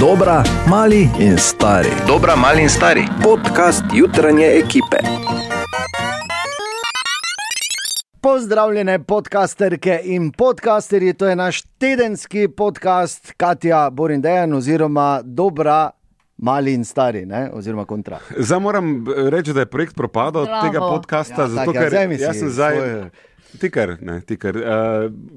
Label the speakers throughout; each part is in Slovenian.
Speaker 1: Dobra, mali in stari.
Speaker 2: Dobra, mali in stari.
Speaker 1: Podcast jutranje ekipe.
Speaker 3: Pozdravljene podcasterke in podcasterji, to je naš tedenski podcast Katja Borindejan, oziroma dobra, mali in stari, ne? oziroma kontra.
Speaker 4: Zdaj moram b- reči, da je projekt propadel od
Speaker 5: Bravo.
Speaker 4: tega
Speaker 3: Ja,
Speaker 4: podcasta, ja, zato
Speaker 3: tako, ja,
Speaker 4: ker
Speaker 3: vzemi si
Speaker 4: jaz sem zdaj.
Speaker 3: svoje.
Speaker 4: Tikar, ne, tikar. Uh,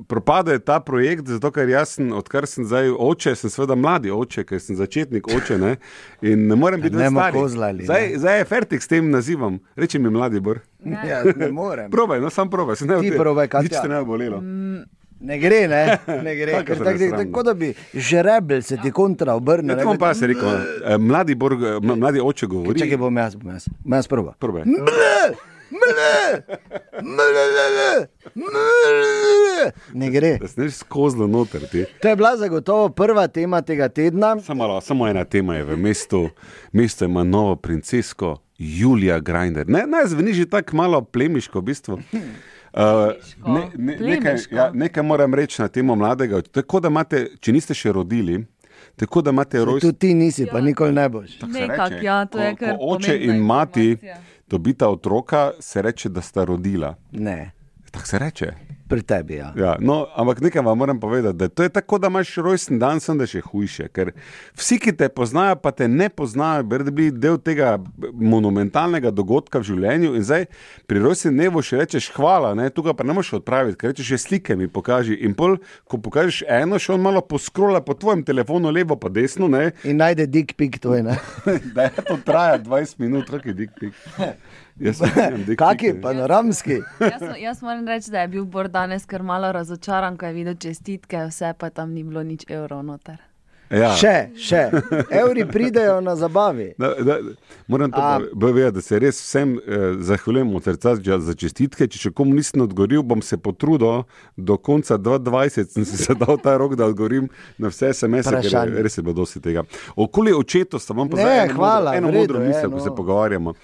Speaker 4: propada je ta projekt, zato ker jaz sem, odkar sem zdaj oče, sem seveda mladi oče, ker sem začetnik oče ne, in ne morem biti
Speaker 3: Ne
Speaker 4: več
Speaker 3: bomo
Speaker 4: star.
Speaker 3: kozlali,
Speaker 4: Zdaj,
Speaker 3: ne.
Speaker 4: zdaj je fertik s tem nazivom, reče mi mladi bor.
Speaker 3: Ja, ne morem.
Speaker 4: Probaj, no sam probaj, se ne
Speaker 3: Ti
Speaker 4: bo-
Speaker 3: probaj, Mm. Katja.
Speaker 4: Nič te ne bo bolelo.
Speaker 3: Ne gre, ne, ne gre.
Speaker 4: Tako
Speaker 3: Ker
Speaker 4: se
Speaker 3: tak,
Speaker 4: ne
Speaker 3: tak,
Speaker 4: sramim.
Speaker 3: tako da bi žrebel se ti kontra obrnil.
Speaker 4: Ja,
Speaker 3: ne,
Speaker 4: to bom
Speaker 3: bi-
Speaker 4: pa se rekel, eh, mladi, bor, eh, mla- mladi oče govori.
Speaker 3: Čakaj, bom jaz, bom jaz, bom jaz prva.
Speaker 4: Probaj.
Speaker 3: Ne gre.
Speaker 4: Da se ne skozlo noter. Ti.
Speaker 3: To je bila zagotovo prva tema tega tedna.
Speaker 4: Samo, malo, samo ena tema je v mestu. Mesto ima novo princesko Julija Grindr. Ne, ne zveni že tako malo plemiško, v bistvu. Uh, ne, ne, nekaj,
Speaker 5: Plemiško.
Speaker 4: ja, nekaj moram reči na temo mladega. Tako da imate, če niste še rodili, tako da imate rojstvo.
Speaker 3: Tudi ti nisi, pa nikoli ne boš.
Speaker 5: Nekako, ja, to je kar.
Speaker 4: Oče
Speaker 5: pomembna
Speaker 4: in mati
Speaker 5: informacija.
Speaker 4: dobita otroka, se reče, da sta rodila.
Speaker 3: Ne,
Speaker 4: Tako se reče.
Speaker 3: pri tebi, ja.
Speaker 4: Ja, no, ampak nekaj vam moram povedati, da to je tako, da imaš rojsten dan, sem da še hujše. Ker vsi, ki te poznajo, pa te ne poznajo, bi radi bili del tega monumentalnega dogodka v življenju. In zdaj pri rojstnem dnevu še rečeš hvala, ne, tukaj pa ne moreš odpraviti, ker rečeš, že slike mi pokaži. In pol, ko pokažeš eno, še on malo poskrola po tvojem telefonu, levo pa desno, ne,
Speaker 3: In najde dik pik tvoj, ne.
Speaker 4: da je to traja 20 minut, kaj je dik pik. Jaz ne vem, dik pik,
Speaker 3: Kaki,
Speaker 4: ne.
Speaker 3: panoramski.
Speaker 5: Jaz, mo- jaz moram reči, da je bil Bor danes kar malo razočaran, ko je videl čestitke, vse pa tam ni bilo nič evrov noter.
Speaker 4: Ja.
Speaker 3: Še, še. Evri pridejo na zabavi.
Speaker 4: Da, da, moram to
Speaker 3: A-
Speaker 4: povedati, da se res vsem eh, zahvaljujem od srca za, za čestitke. Če še komu nisem odgovoril, bom se potrudil do konca 2020, sem si zadal ta rok, da odgovorim na vse SMS-e, ker
Speaker 3: Vprašanje.
Speaker 4: res je bilo dosti tega. Okoli očetostva vam
Speaker 3: Ne,
Speaker 4: pozdravljam.
Speaker 3: hvala,
Speaker 4: Eno
Speaker 3: v redu
Speaker 4: modro
Speaker 3: je,
Speaker 4: misel, ko
Speaker 3: no.
Speaker 4: se pogovarjamo.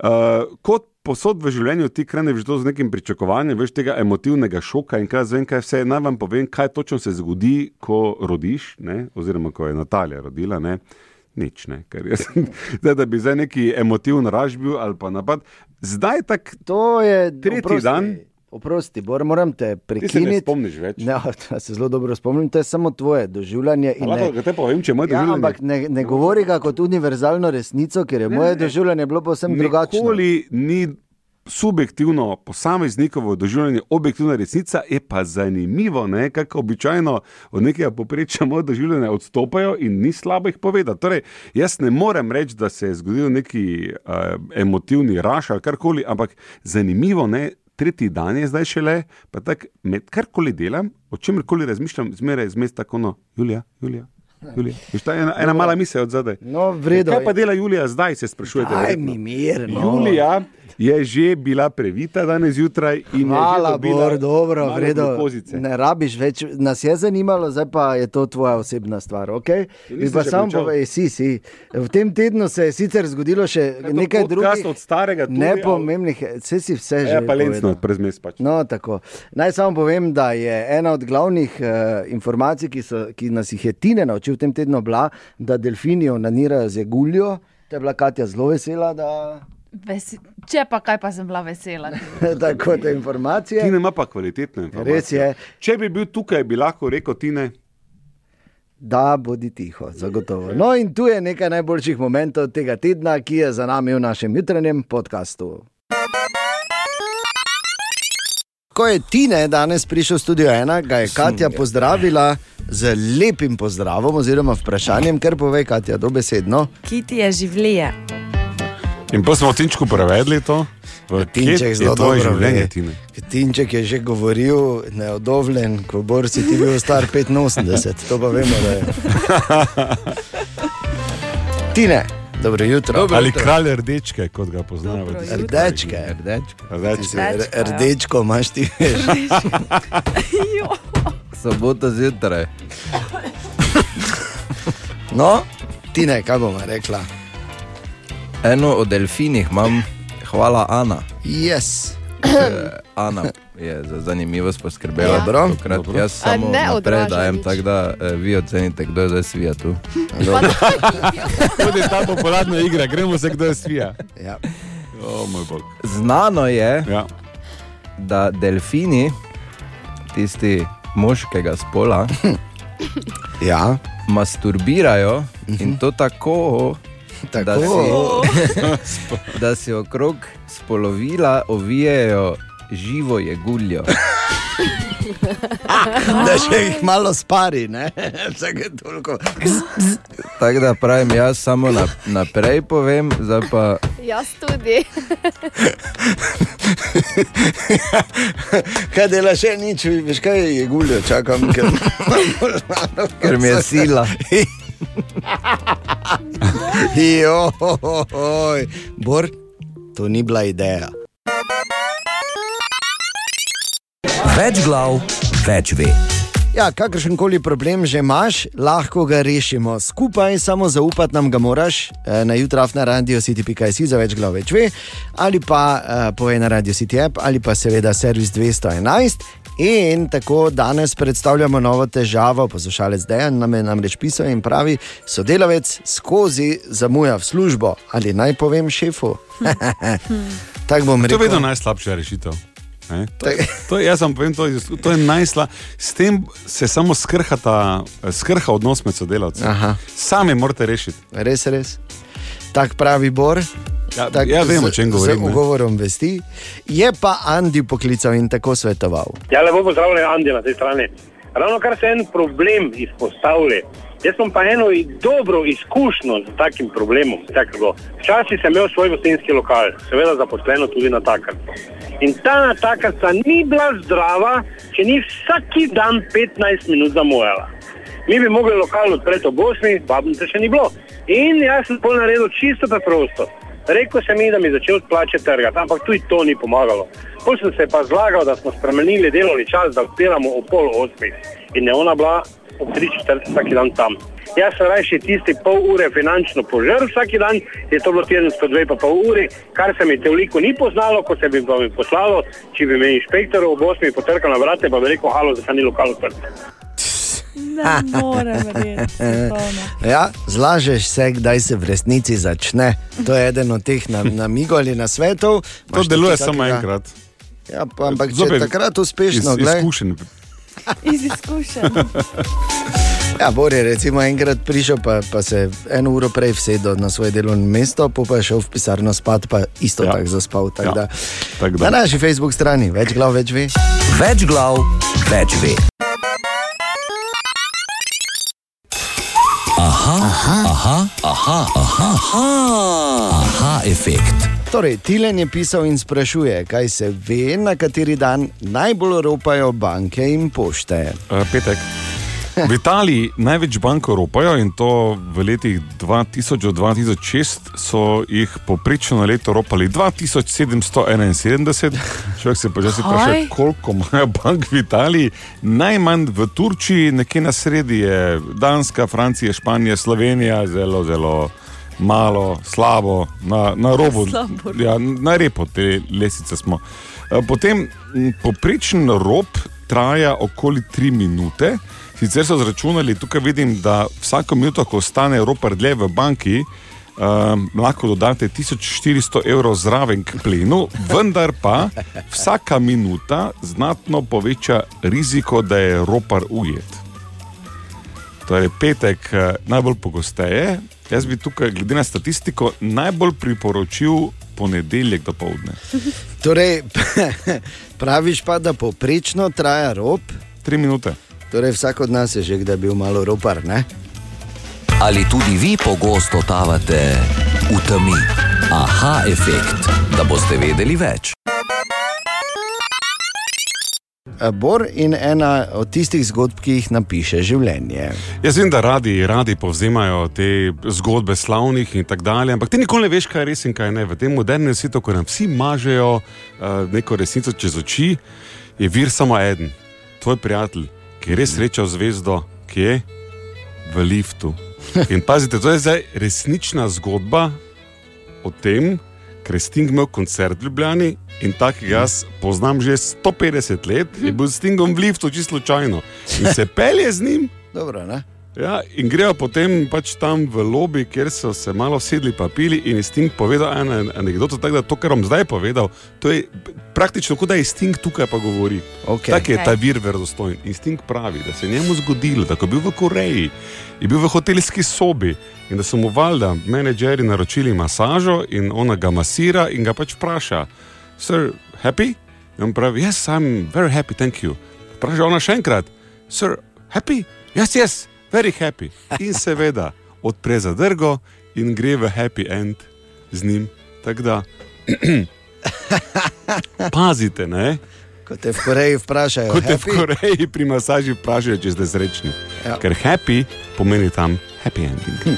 Speaker 4: Uh, kot posod v življenju ti kreneš to z nekim pričakovanjem, veš tega emotivnega šoka in kaj zvem, kaj vse. Naj vam povem, kaj točno se zgodi, ko rodiš, ne? oziroma ko je Natalija rodila. Ne? Nič, ne, ker jaz, zdaj, da bi zdaj neki emotivni raž bil ali pa napad. Zdaj tako,
Speaker 3: To je
Speaker 4: Tretji
Speaker 3: oprosti,
Speaker 4: dan.
Speaker 3: Oprosti, Bor, moram te
Speaker 4: ti se ne
Speaker 3: prekiniti.
Speaker 4: spomniš več.
Speaker 3: Ne, to se zelo dobro spomnim, to je samo tvoje doživljanje. in
Speaker 4: Lahko
Speaker 3: Ne,
Speaker 4: ga te povem, če imaš
Speaker 3: ja, ampak ne, ne govori ga kot univerzalno resnico, ker je moje doživljanje bilo povsem drugačno.
Speaker 4: Nikoli ni subjektivno posameznikovo doživljanje, objektivna resnica je pa zanimivo, ne, kako običajno od nekega poprečja moje doživljanje odstopajo in ni slabo jih povedati. Torej, jaz ne morem reči, da se je zgodil neki uh, emotivni raš ali karkoli, ampak zanimivo je. Tretji dan je zdaj šele, pa tako med karkoli delam, o čem koli razmišljam, zmeraj zmes tako, no, Julija, Julija, Julija. Veš, ta ena, ena mala misel od zadaj.
Speaker 3: No, v redu.
Speaker 4: Kaj pa dela Julija zdaj, se sprašujete?
Speaker 3: Aj
Speaker 4: verjetno?
Speaker 3: mi mir. No.
Speaker 4: Julija je že bila previta danes zjutraj in je že
Speaker 3: Hvala,
Speaker 4: dobila
Speaker 3: Bor, dobro,
Speaker 4: male
Speaker 3: vredno.
Speaker 4: glukozice.
Speaker 3: Ne rabiš več, nas je zanimalo, zdaj pa je to tvoja osebna stvar. Okay?
Speaker 4: Ja,
Speaker 3: Bi
Speaker 4: nisi
Speaker 3: pa
Speaker 4: še
Speaker 3: sam
Speaker 4: končal?
Speaker 3: povedal, si, si. V tem tednu se je sicer zgodilo še
Speaker 4: to
Speaker 3: nekaj
Speaker 4: podcast
Speaker 3: drugega.
Speaker 4: od starega tudi,
Speaker 3: nepomembnih, vse si vse že.
Speaker 4: Ja, pa lencno,
Speaker 3: povedal.
Speaker 4: prezmes pač.
Speaker 3: No, tako. Naj samo povem, da je ena od glavnih uh, informacij, ki, so, ki nas jih je Tine naučil v tem tednu, bila, da delfini onanirajo z eguljo. To je bila Katja zelo vesela, da
Speaker 5: Vesi Če pa kaj, pa sem bila vesela.
Speaker 3: tako te informacije.
Speaker 4: Ti ne ima pa kvalitetne informacije.
Speaker 3: Res je.
Speaker 4: Če bi bil tukaj, bi lahko rekel ti ne.
Speaker 3: Da, bodi tiho, zagotovo. No, in tu je nekaj najboljših momentov tega tedna, ki je za nami v našem jutranjem podkastu. Ko je Tine danes prišel v studio ena, ga je Katja pozdravila z lepim pozdravom oziroma vprašanjem, ker pove Katja dobesedno.
Speaker 6: Kiti je življenje.
Speaker 4: In pa smo Tinčku prevedli to.
Speaker 3: Tinček zelo dobro ve. Tinček je že govoril, neodovljen, ko borci ti bil star 85, to pa vemo, da je. Tine, dobro jutro.
Speaker 4: Ali kralj rdečke, kot ga poznajo.
Speaker 3: Rdečke, rdečke.
Speaker 4: Rdečke.
Speaker 6: Rdečko, ja.
Speaker 3: Rdečko imaš ti veš.
Speaker 2: Sobota zjutraj.
Speaker 3: No, ti ne, kaj bomo rekla.
Speaker 2: Eno o delfinih imam, hvala Ana.
Speaker 3: Yes.
Speaker 2: Ana je za zanimivost poskrbela.
Speaker 3: Ja. Dobro.
Speaker 2: Tokrat
Speaker 4: Dobro.
Speaker 2: Jaz samo
Speaker 3: ne
Speaker 2: naprej
Speaker 3: odraža
Speaker 2: dajem,
Speaker 3: nič.
Speaker 2: tako da eh, vi ocenite, kdo je zdaj svija tu.
Speaker 4: Tudi ta popularna igra, gremo se kdo je svija.
Speaker 3: Ja.
Speaker 4: O moj bog.
Speaker 2: Znano je,
Speaker 4: Ja.
Speaker 2: da delfini, tisti moškega spola,
Speaker 3: ja,
Speaker 2: masturbirajo in to Mhm. tako, da
Speaker 3: tako.
Speaker 2: si, da si okrog spolovila ovijejo živo jeguljo.
Speaker 3: Da še jih malo spari, ne? Vsake toliko.
Speaker 2: Tako da pravim, jaz samo na, naprej povem, zdaj pa
Speaker 7: Jaz tudi.
Speaker 3: Kaj dela še nič, veš kaj je guljo, čakam, ker,
Speaker 2: ker mi je sila.
Speaker 3: Joj, Bor, to ni bila ideja.
Speaker 8: Več glav, več ve.
Speaker 3: Ja, kakršen koli problem že imaš, lahko ga rešimo skupaj, samo zaupati nam ga moraš eh, na jutraf na radio city.js za več glav več ve, ali pa eh, poje na radio city app, ali pa seveda servis 211. In tako danes predstavljamo novo težavo. Poslušalec Dejan nam je namreč pisal in pravi, sodelavec skozi zamuja v službo ali naj povem šefu. Tako bom
Speaker 4: Hm. To je
Speaker 3: rekel.
Speaker 4: vedno najslabša rešitev. Ne? To, je- to, je- jaz vam povem, to, je- to je najslabše. S tem se samo skrhata, skrha odnos med sodelavci.
Speaker 3: Aha.
Speaker 4: Sami morate rešiti.
Speaker 3: Res, res. Tako pravi Bor.
Speaker 4: Ja, ja, vem, o
Speaker 3: z-
Speaker 4: čem govorim,
Speaker 3: Z
Speaker 4: ne.
Speaker 3: ugovorom vesti. Je pa Andi poklical in tako svetoval.
Speaker 9: Ja, lepo pozdravljen, Andi na tej strani. Ravno kar se en problem izpostavlja. Jaz sem pa eno i- dobro izkušnjo z takim problemom. Tako je bilo. Včasih sem imel svoj gostinski lokal, seveda zaposleno tudi na takar. In ta natakarca ni bila zdrava, če ni vsak dan 15 minut zamujala. Mi bi mogli lokal odpreti ob 8, babnice še ni bilo. In jaz sem to naredil čisto preprosto. Rekel sem jim, da mi je začel plače trgati, ampak tudi to ni pomagalo. Potem sem se pa zlagal, da smo spremenili delovni čas, da odpiramo ob pol osmih in ne ona bila ob tri četrt vsak dan tam. Jaz sem rajši tisti pol ure finančno požrl vsak dan, je to bilo tedensko dve pa pol uri, kar se mi toliko ni poznalo, kot se bi pa mi poslalo, če bi me inšpektor ob osmih potrkal na vrate, pa bi rekel, halo, zakaj ni lokal odprt.
Speaker 5: Ne morem verjeti. svetovno.
Speaker 3: Ja, zlažeš se, kdaj se v resnici začne. To je eden od teh nam- namigov ali na svetov.
Speaker 4: To deluje samo enkrat.
Speaker 3: Ja, pa, ampak če
Speaker 4: Zopet
Speaker 3: takrat uspešno,
Speaker 4: iz,
Speaker 3: gledaj.
Speaker 4: izkušen.
Speaker 5: Iz izkušenj.
Speaker 3: Ja, Bor je recimo enkrat prišel, pa, pa se eno uro prej vsedel na svoje delovno mesto, pol pa je šel v pisarno spat, pa isto ja.
Speaker 4: Ja.
Speaker 3: tako zaspal. Tak
Speaker 4: Ja.
Speaker 3: ja.
Speaker 4: Tako da.
Speaker 3: Na naši Facebook strani več glav, več ve.
Speaker 8: Več glav, več ve. Aha, aha, aha, aha, aha, aha efekt.
Speaker 3: Torej, Tilen je pisal in sprašuje, kaj se ve, na kateri dan najbolj ropajo banke in pošte.
Speaker 4: Eh, petek. V Italiji največ bank ropajo in to v letih 2000 do 2006 so jih poprečno na leto ropali 2771. Človek se pa že sprašuje,
Speaker 5: Kaj?
Speaker 4: koliko imajo bank v Italiji. Najmanj v Turčiji, nekje na sredi je Danska, Francija, Španija, Slovenija, zelo, zelo malo, slabo, na, na robu. Ja, na repo te lesice smo. Eh, Potem m, poprečen rob traja okoli 3 minute. Sicer so zračunali, tukaj vidim, da vsako minuto, ko ostane ropar dlje v banki, Um, lahko dodate 1400 evrov zraven k plenu, vendar pa vsaka minuta znatno poveča riziko, da je ropar ujet. Torej, petek eh, najbolj pogosteje. Jaz bi tukaj, glede na statistiko, najbolj priporočil ponedeljek do povdne.
Speaker 3: Torej, praviš pa, da poprečno traja rop,
Speaker 4: Tri minute.
Speaker 3: torej vsak od nas je že kdaj bil malo ropar, ne?
Speaker 8: Ali tudi vi pogosto totavate v temi? Aha, efekt, da boste vedeli več.
Speaker 3: Bor in ena od tistih zgodb, ki jih napiše življenje.
Speaker 4: Jaz vem, da radi, radi povzemajo te zgodbe slavnih in tako dalje, ampak ti nikoli ne veš, kaj je res in kaj ne. V tem modernem svetu, ko nam vsi mažejo eh, neko resnico čez oči, je vir samo en, tvoj prijatelj, ki je res srečal zvezdo, ki je v liftu. In pazite, to je zdaj resnična zgodba o tem, Ker je Sting imel koncert v Ljubljani in takega jaz poznam že 150 let, je bil s Stingom v liftu čisto slučajno in se pelje z njim.
Speaker 3: Dobro, ne?
Speaker 4: Ja, in grejo potem pač tam v lobby, kjer so se malo sedli pa pili in je Sting povedal eno anegdoto, tako da to, kar bom zdaj povedal, to je praktično kot da je Sting tukaj pa govori.
Speaker 3: Okej.
Speaker 4: Tako je ta
Speaker 5: Okej.
Speaker 4: vir verodostojen. In Sting pravi, da se je njemu zgodilo, da ko je bil v Koreji, je bil v hotelski sobi in da so mu valjda menedžeri naročili masažo in ona ga masira in ga pač vpraša, sir, happy? In on pravi, yes, I'm very happy, thank you. Vpraša ona še enkrat, sir, happy? Yes, yes, very happy. In seveda odpre zadrgo in gre v happy end z njim. Tako da, pazite, ne?
Speaker 3: Kot te v Koreji vprašajo.
Speaker 4: Kot te v
Speaker 3: happy?
Speaker 4: Koreji pri masaži vprašajo, če ste srečni.
Speaker 3: Ja.
Speaker 4: Ja. Ker happy pomeni tam happy ending.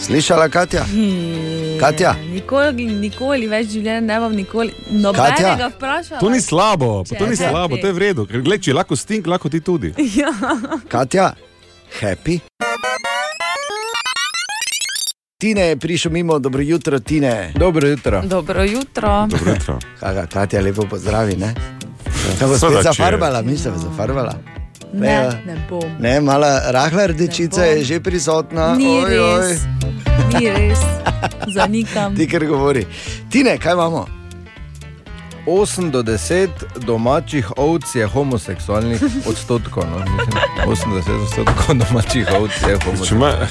Speaker 3: Slišala, Katja? Katja?
Speaker 5: Nikoli, nikoli več življenja ne bom nikoli nobenega vprašal.
Speaker 4: To ni slabo, pa to ni
Speaker 5: Če
Speaker 4: slabo,
Speaker 5: happy.
Speaker 4: to je v redu. Ker gledaj, če je lahko stink, lahko ti tudi.
Speaker 5: Ja.
Speaker 3: Katja, happy. Tine je prišel mimo, dobro jutro, Tine.
Speaker 2: Dobro jutro.
Speaker 5: Dobro jutro.
Speaker 4: Dobro jutro.
Speaker 3: Kaga, Katja, lepo pozdravi. Ne? Kaj bo
Speaker 4: Ja, Seveda,
Speaker 3: spet
Speaker 4: če je.
Speaker 3: zafarbala, mislim, zafarbala.
Speaker 5: Ne, ne bom.
Speaker 3: Ne, mala rahla rdečica
Speaker 5: Ne bom.
Speaker 3: je že prisotna.
Speaker 5: Ni
Speaker 3: Oj, oj.
Speaker 5: res, ni res. Zanikam.
Speaker 3: Ti, ker govori. Tine, kaj imamo?
Speaker 2: 8 do 10 domačih ovc je homoseksualnih odstotkov. No? Mislim, 80 odstotkov domačih ovc
Speaker 7: Če,
Speaker 2: je homoseksualnih.
Speaker 7: ima,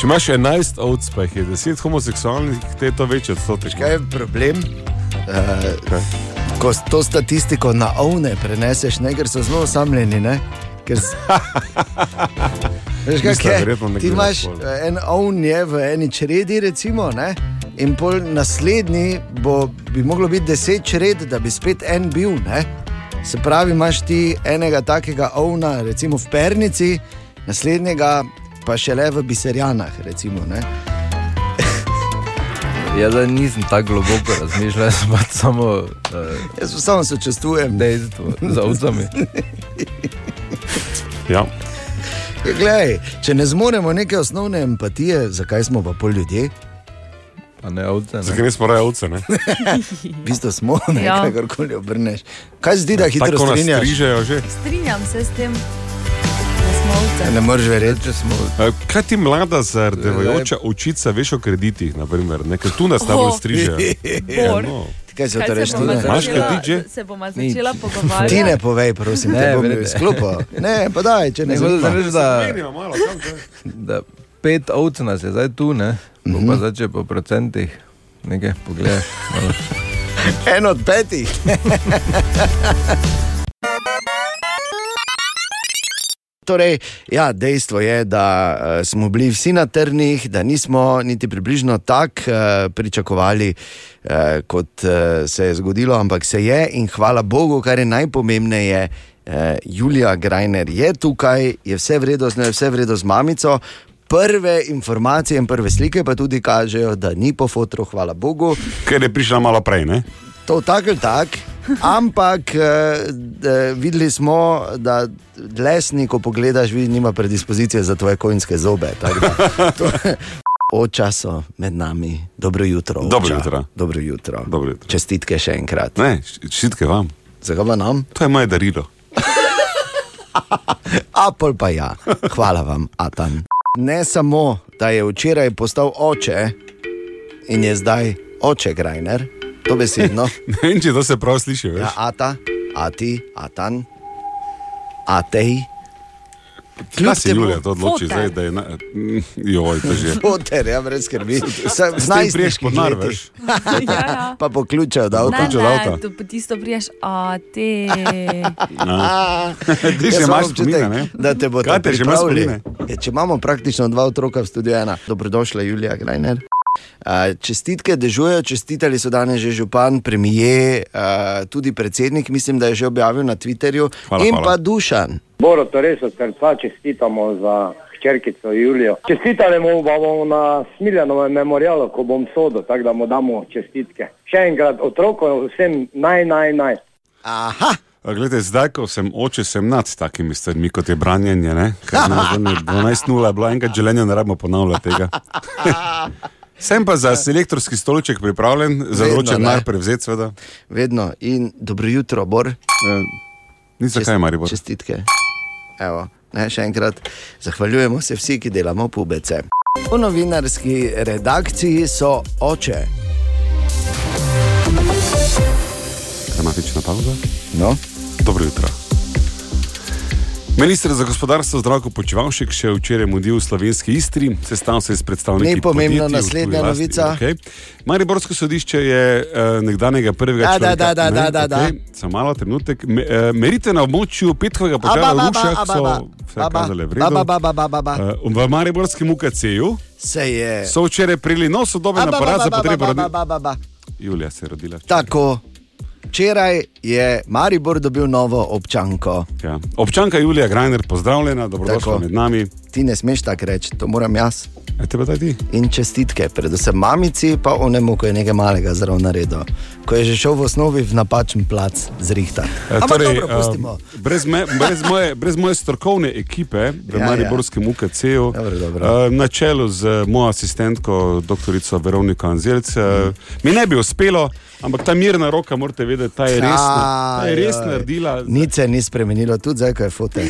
Speaker 7: če imaš 11 ovc, pa jih je 10 homoseksualnih, te je to večji odstotek.
Speaker 3: Kaj je problem? Uh, ko s- to statistiko na ovne preneseš, ne, ker so zelo osamljeni. Ne? Ker... s- Veš,
Speaker 7: Mislim,
Speaker 3: kako je?
Speaker 7: verjetno ne
Speaker 3: Ti
Speaker 7: gledaš
Speaker 3: imaš
Speaker 7: pol.
Speaker 3: eh, en ovn je v eni čredi, recimo, ne? in pol naslednji bo, bi moglo biti deset čred, da bi spet en bil. Ne? Se pravi, imaš ti enega takega ovna, recimo v pernici, naslednjega pa še le v biserjanah. Recimo, ne?
Speaker 2: Jaz zdaj nisem tako globoko razmišljal, jaz sem pač samo uh,
Speaker 3: Jaz samo sočustvujem.
Speaker 2: dejstvo za ovcami.
Speaker 4: Ja.
Speaker 3: Ja, Glej, če ne zmoremo neke osnovne empatije, zakaj smo pa pol ljudje?
Speaker 2: Pa ne ovce. Ne.
Speaker 7: Zakaj smo raje ovce? ne?
Speaker 3: V bistvu smo, ne ja.
Speaker 5: Ja.
Speaker 3: kakorkoli obrneš. Kaj se zdi, da hitro
Speaker 7: Tako nas
Speaker 3: strinjaš?
Speaker 7: strižejo že.
Speaker 5: Strinjam se s tem, da smo ovce.
Speaker 3: Ne moreš verjeti.
Speaker 2: Če smo
Speaker 7: Eh, Kaj ti mlada,
Speaker 4: Ja,
Speaker 7: zardevajoča očica, veš o kreditih, naprimer, ne? ker tu nas najbolj
Speaker 5: Oh.
Speaker 7: strižejo.
Speaker 4: Ja,
Speaker 5: Bor,
Speaker 7: No.
Speaker 3: Kaj se
Speaker 5: kaj
Speaker 3: odreš
Speaker 5: se bova
Speaker 3: tudi?
Speaker 7: Imaš kaj
Speaker 5: začela-
Speaker 7: ti, že?
Speaker 5: Se bomo začela
Speaker 3: Ti ne
Speaker 5: pogovarjati.
Speaker 3: povej, prosim, ne,
Speaker 2: Ne,
Speaker 3: te bom
Speaker 2: verjete.
Speaker 3: izklopil. Ne, pa daj, če
Speaker 2: ne
Speaker 3: ne
Speaker 2: hočeš
Speaker 3: zmoreš.
Speaker 2: reči, da,
Speaker 7: Menimo malo, kam to je?
Speaker 2: da pet ovc nas je zdaj tu, ne? Bo
Speaker 3: Mhm.
Speaker 2: pa zdaj, če po procentih nekaj pogledaš. malo.
Speaker 3: En od petih. Torej, ja, dejstvo je, da uh, smo bili vsi na trnih, da nismo niti približno tako uh, pričakovali, uh, kot uh, se je zgodilo, ampak se je in hvala Bogu, kar je najpomembneje. Uh, Julija Grajner je tukaj, je vse vredno, z njo je vse vredno z mamico. Prve informacije in prve slike pa tudi kažejo, da ni po fotru, hvala Bogu.
Speaker 4: Ker je prišla malo prej, ne?
Speaker 3: To tako ali tako. Ampak eh, d- eh, videli smo, da lesni, ko pogledaš, vidi, nima predispozicije za tvoje konjske zobe. tako da to- Oča so med nami, dobro jutro. Oča.
Speaker 4: Dobro jutro.
Speaker 3: Dobro jutro.
Speaker 4: Dobro jutro.
Speaker 3: Čestitke še enkrat.
Speaker 4: Ne, š- šitke vam.
Speaker 3: Zakaj pa nam?
Speaker 4: To je moje darilo.
Speaker 3: Apple pa ja. Hvala vam, Atan. Ne samo, da je včeraj postal oče in je zdaj oče Grajner, to besedno.
Speaker 4: Ne vem, če to se prav sliši, veš.
Speaker 3: Ja, ata, ati, atan, atej,
Speaker 4: Kaj se
Speaker 3: temu-
Speaker 4: Julija to odloči
Speaker 5: Foter.
Speaker 4: zdaj, da je... Na... Mm, Joj, to že.
Speaker 3: poter, ja, brez skrbi.
Speaker 4: S tem priješ
Speaker 3: Znajstniški
Speaker 4: pod nar,
Speaker 3: leti.
Speaker 4: veš.
Speaker 5: Ja, ja.
Speaker 3: Pa poključajo, da
Speaker 5: Ne,
Speaker 4: Otočil
Speaker 5: ne,
Speaker 4: avta.
Speaker 5: tu pa tisto priješ, a te.
Speaker 4: No. Ti že imaš spomine, ne?
Speaker 3: da te bo
Speaker 4: Kaj
Speaker 3: to
Speaker 4: te že ima
Speaker 3: pripravili.
Speaker 4: spomine?
Speaker 3: Ja, Če imamo praktično dva otroka v studiu, ena. Dobrodošla, Julija Grajner. Uh, Čestitke dežujejo, čestitali so danes že župan, premije, uh, tudi predsednik, mislim, da je že objavil na Twitterju,
Speaker 4: Hvala,
Speaker 3: in
Speaker 4: hvala.
Speaker 3: pa Dušan.
Speaker 9: Boro, to res od srca čestitamo za hčerkico Julijo. Čestitali mu bomo na Smiljanovem memorialu, ko bom sodel, tako da mu damo čestitke. Še enkrat otrokom vsem naj, naj, naj.
Speaker 3: Aha,
Speaker 4: Glede, zdaj, ko sem oče, sem nad takimi stvarmi, kot je branjenje. ne, ker na zadnje 12-0 je bilo enkrat željenje, ne rabimo ponavljati tega. Sem pa za selektorski stolček pripravljen, za
Speaker 3: Vedno,
Speaker 4: vroče
Speaker 3: ne.
Speaker 4: denar prevzeti, seveda.
Speaker 3: Vedno in dobro jutro, Bor.
Speaker 4: Eh, Ni zakaj, Maribor.
Speaker 3: Čestitke. Evo, ne, še enkrat zahvaljujemo se vsi, ki delamo pubece. V novinarski redakciji so oče.
Speaker 4: Dramatična pauza.
Speaker 3: No?
Speaker 4: Dobro jutro. Ministr za gospodarstvo Zdravko Počivalšek še je včeraj mudil v slovenski Istri, sestal se je s predstavniki.
Speaker 3: Ni pomembno,
Speaker 4: podjetij v
Speaker 3: naslednja
Speaker 4: tuji lasti,
Speaker 3: novica.
Speaker 4: Okay. Mariborsko sodišče je eh, nekdanjega prvega
Speaker 3: Da, da,
Speaker 4: človeka.
Speaker 3: da, da,
Speaker 4: ne,
Speaker 3: da, da, da.
Speaker 4: okej, Samo malo trenutek. Me, eh, meritve na območju petkovega požara v Rušah so vse kazale v redu.
Speaker 3: Ababa,
Speaker 4: Eh, V Mariborskem UKC-ju
Speaker 3: se je.
Speaker 4: so včeraj prijeli nov sodoben aparat za potrebe rodila.
Speaker 3: Ababa,
Speaker 4: Julija se je rodila.
Speaker 3: Tako. Včeraj je Maribor dobil novo občanko.
Speaker 4: Ja. Občanka Julija Grajner, pozdravljena,
Speaker 3: Tako.
Speaker 4: dobrodošla med nami.
Speaker 3: Ti ne smeš tako reči, to moram jaz.
Speaker 4: E, tebe daj ti.
Speaker 3: In čestitke, predvsem mamici, pa onemu, ko je nekaj malega zraven naredil, ko je že šel v osnovi v napačen plac zrihta.
Speaker 4: E,
Speaker 3: Ampak torej, dobro, pustimo.
Speaker 4: eh, brez, me, brez, moje, brez moje strokovne ekipe v
Speaker 3: Ja,
Speaker 4: ja,
Speaker 3: ja.
Speaker 4: Mariborskem ja. UKC-ju,
Speaker 3: Dobro, dobro.
Speaker 4: eh, na čelu z mojo asistentko, dr. Veroniko Anzelc, mm.
Speaker 3: Mhm.
Speaker 4: mi ne bi uspelo, ampak ta mirna roka, morate vedeti, ta je res, ta je res
Speaker 3: Ajaj.
Speaker 4: naredila.
Speaker 3: Nič se ni spremenilo, tudi zdaj, ko je fote.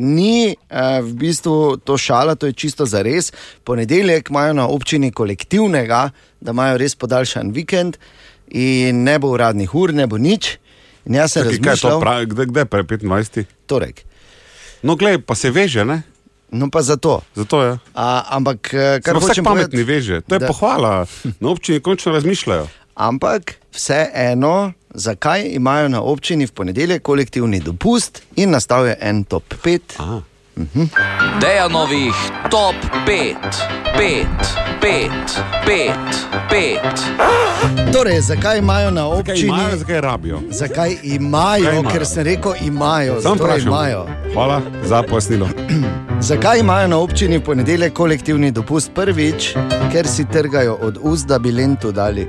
Speaker 3: Ni eh, v bistvu to šala, to je čisto za res. Ponedeljek imajo na občini kolektivnega, da imajo res podaljšan vikend in ne bo uradnih ur, ne bo nič. In jaz sem
Speaker 4: Čakaj, Kaj je to,
Speaker 3: razmišljal,
Speaker 4: pravi, kdaj, kdaj pa je 25?
Speaker 3: torek.
Speaker 4: No, gledaj, pa se veže, ne?
Speaker 3: No pa zato.
Speaker 4: Zato je.
Speaker 3: A, ampak, eh, kar
Speaker 4: Kar vsak
Speaker 3: hočem
Speaker 4: pametni
Speaker 3: povedati,
Speaker 4: veže, to je
Speaker 3: da-
Speaker 4: da. pohvala. Na občini končno razmišljajo.
Speaker 3: Ampak vseeno, zakaj imajo na občini v ponedeljek kolektivni dopust in nastal je en top 5.
Speaker 8: Dejanovih top 5, 5, 5, 5, 5.
Speaker 3: Torej, zakaj imajo na
Speaker 4: Kaj
Speaker 3: občini?
Speaker 4: imajo, zakaj rabijo?
Speaker 3: Zakaj imajo,
Speaker 4: Zakaj
Speaker 3: imajo?
Speaker 4: imajo?
Speaker 3: ker sem rekel, imajo,
Speaker 4: Sam
Speaker 3: zato
Speaker 4: vprašam.
Speaker 3: Torej imajo.
Speaker 4: Hvala za pojasnilo.
Speaker 3: Zakaj imajo na občini v ponedeljek kolektivni dopust prvič, ker si trgajo od ust, da bi lento dali.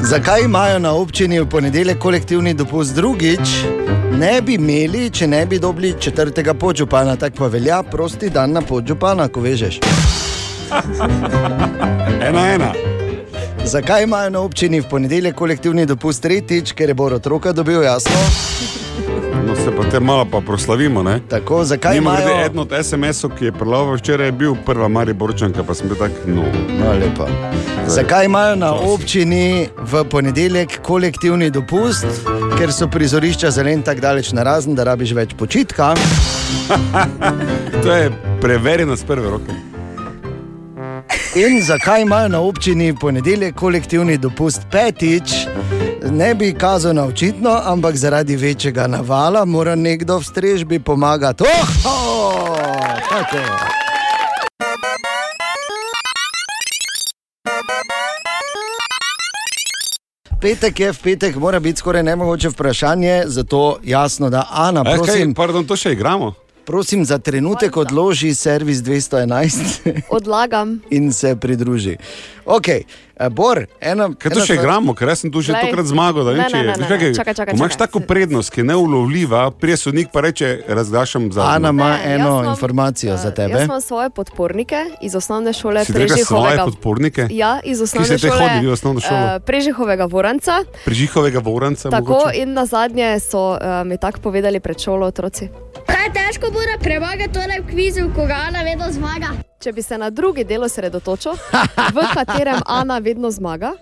Speaker 3: Zakaj imajo na občini v ponedeljek kolektivni dopust drugič? Ne bi imeli, če ne bi dobili četrtega podžupana, tako pa velja prosti dan na podžupana, ko vežeš.
Speaker 4: Ena, ena.
Speaker 3: Zakaj imajo na občini v ponedeljek kolektivni dopust tretjič, ker je Bor otroka dobil jasno?
Speaker 4: No, se pa te malo pa proslavimo, ne?
Speaker 3: Tako, zakaj
Speaker 4: Mimo grede,
Speaker 3: imajo?
Speaker 4: eden od SMS-ov, ki je preloval včeraj, je bil prva Mariborčanka, pa sem bil tak, no.
Speaker 3: No, lepo. Zakaj imajo na občini v ponedeljek kolektivni dopust, ker so prizorišča zelen tako daleč na razen, da rabiš več počitka?
Speaker 4: To je preverjeno z prve roke.
Speaker 3: In zakaj imajo na občini v ponedeljek kolektivni dopust petič? Ne bi kazal na očitno, ampak zaradi večjega navala mora nekdo v strežbi pomagati. Oh, oh, tako. Petek je v petek, mora biti skoraj nemogoče vprašanje, zato jasno, da Ana,
Speaker 4: E, kaj,
Speaker 3: prosim,
Speaker 4: pardon, to še igramo?
Speaker 3: prosim za trenutek odloži servis 211
Speaker 10: Odlagam.
Speaker 3: in se pridruži. Okay. Bor, ena,
Speaker 4: Kaj to
Speaker 3: ena
Speaker 4: še
Speaker 3: stvar-
Speaker 4: igramo, ker jaz sem tu že
Speaker 10: Glej.
Speaker 4: tokrat zmagal. da vem,
Speaker 10: Ne,
Speaker 4: če
Speaker 10: ne,
Speaker 4: je-
Speaker 10: ne,
Speaker 4: veš
Speaker 10: ne,
Speaker 4: kaj,
Speaker 10: ne,
Speaker 4: kaj-
Speaker 10: čakaj, čakaj,
Speaker 4: ko Imaš
Speaker 10: čakaj.
Speaker 4: tako prednost, ki je neulovljiva, prije sodnik pa reče, razglašam za.
Speaker 3: Ana ima
Speaker 10: Ne, jaz
Speaker 3: eno
Speaker 10: imam,
Speaker 3: informacijo
Speaker 10: eh,
Speaker 3: za tebe.
Speaker 10: Jaz imam svoje podpornike iz osnovne šole
Speaker 4: Si ti rekel svoje
Speaker 10: Prežihovega.
Speaker 4: podpornike?
Speaker 10: Ja, iz osnovne
Speaker 4: ste te
Speaker 10: šole.
Speaker 4: hodili v osnovno šolo?
Speaker 10: eh, Prežihovega Voranca.
Speaker 4: Prižihovega voranca.
Speaker 10: Tako
Speaker 4: mogoče?
Speaker 10: in na zadnje so eh, mi tako povedali pred šolo otroci.
Speaker 11: Kaj je težko bo, da premaga tole v kvizu, ko ga Ana vedno zmaga?
Speaker 10: Če bi se na drugi del osredotočil, v katerem Ana vedno zmaga,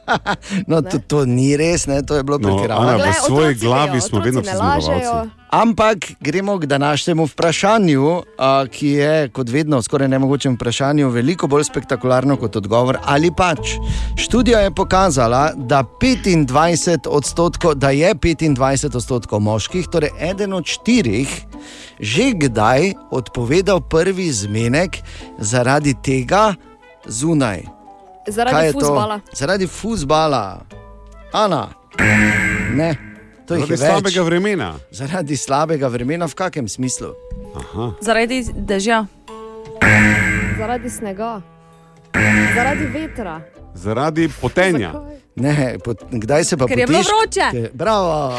Speaker 3: No, to, to ni res, ne? to je bilo
Speaker 4: No,
Speaker 3: pretiravano.
Speaker 4: Ana,
Speaker 10: Glej,
Speaker 4: Ja, v svoji
Speaker 10: otroci
Speaker 4: glavi
Speaker 10: vejo,
Speaker 4: smo
Speaker 10: otroci
Speaker 4: vedno
Speaker 10: ne
Speaker 4: vsi
Speaker 10: lažejo.
Speaker 4: zmagovalci.
Speaker 3: Ampak gremo k današnjemu vprašanju, a, ki je, kot vedno, v skoraj nemogočem vprašanju, veliko bolj spektakularno kot odgovor ali pač. Študija je pokazala, da, 25 odstotkov- da je 25 odstotkov moških, torej eden od štirih, že kdaj odpovedal prvi zmenek zaradi tega zunaj. Kaj
Speaker 10: zaradi
Speaker 3: je
Speaker 10: fuzbala.
Speaker 3: to? Zaradi fuzbala. Ana, ne, to jih je
Speaker 4: Zaradi
Speaker 3: več.
Speaker 4: slabega vremena.
Speaker 3: Zaradi slabega vremena, v kakem smislu?
Speaker 5: Zaradi dežja.
Speaker 10: Zaradi snega. Zaradi vetra.
Speaker 4: Zaradi potenja.
Speaker 10: Zakaj?
Speaker 3: Ne, pot, kdaj se pa
Speaker 5: Ker je
Speaker 3: potiš-
Speaker 5: bilo vroče.
Speaker 3: Ke- Bravo!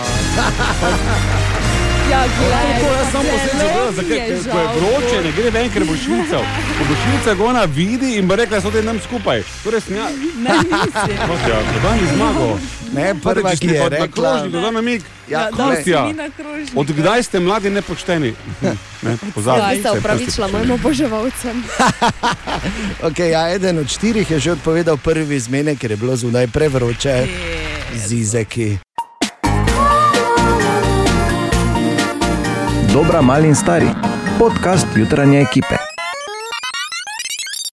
Speaker 5: Ja, glej,
Speaker 4: To jaz samo posebej
Speaker 5: zelo
Speaker 4: zavedam,
Speaker 5: mi
Speaker 4: zakaj,
Speaker 5: je
Speaker 4: ker ko je
Speaker 5: žal,
Speaker 4: vroče, ne gre ven, ker bo švical. Ko bo švical, ga ona vidi in bo rekla, da so te nam skupaj. Torej, sem jaz.
Speaker 5: Ne, nisi.
Speaker 4: Kostja, da ni zmagal.
Speaker 3: Ne, prva, ki je rekla,
Speaker 4: Krožnik, da nam je
Speaker 3: ja,
Speaker 5: Da, da,
Speaker 4: Kostja.
Speaker 5: si ni na krožniku.
Speaker 4: Od kdaj ste mladi nepošteni? Ne,
Speaker 10: Zdaj
Speaker 4: pozabi.
Speaker 10: se opravičila mojim oboževalcem.
Speaker 3: okay, ja, eden od štirih je že odpovedal prvi zmenek, ker je bilo zunaj prevroče zizeki.
Speaker 2: Dobra, mali in stari. Podcast jutranje ekipe.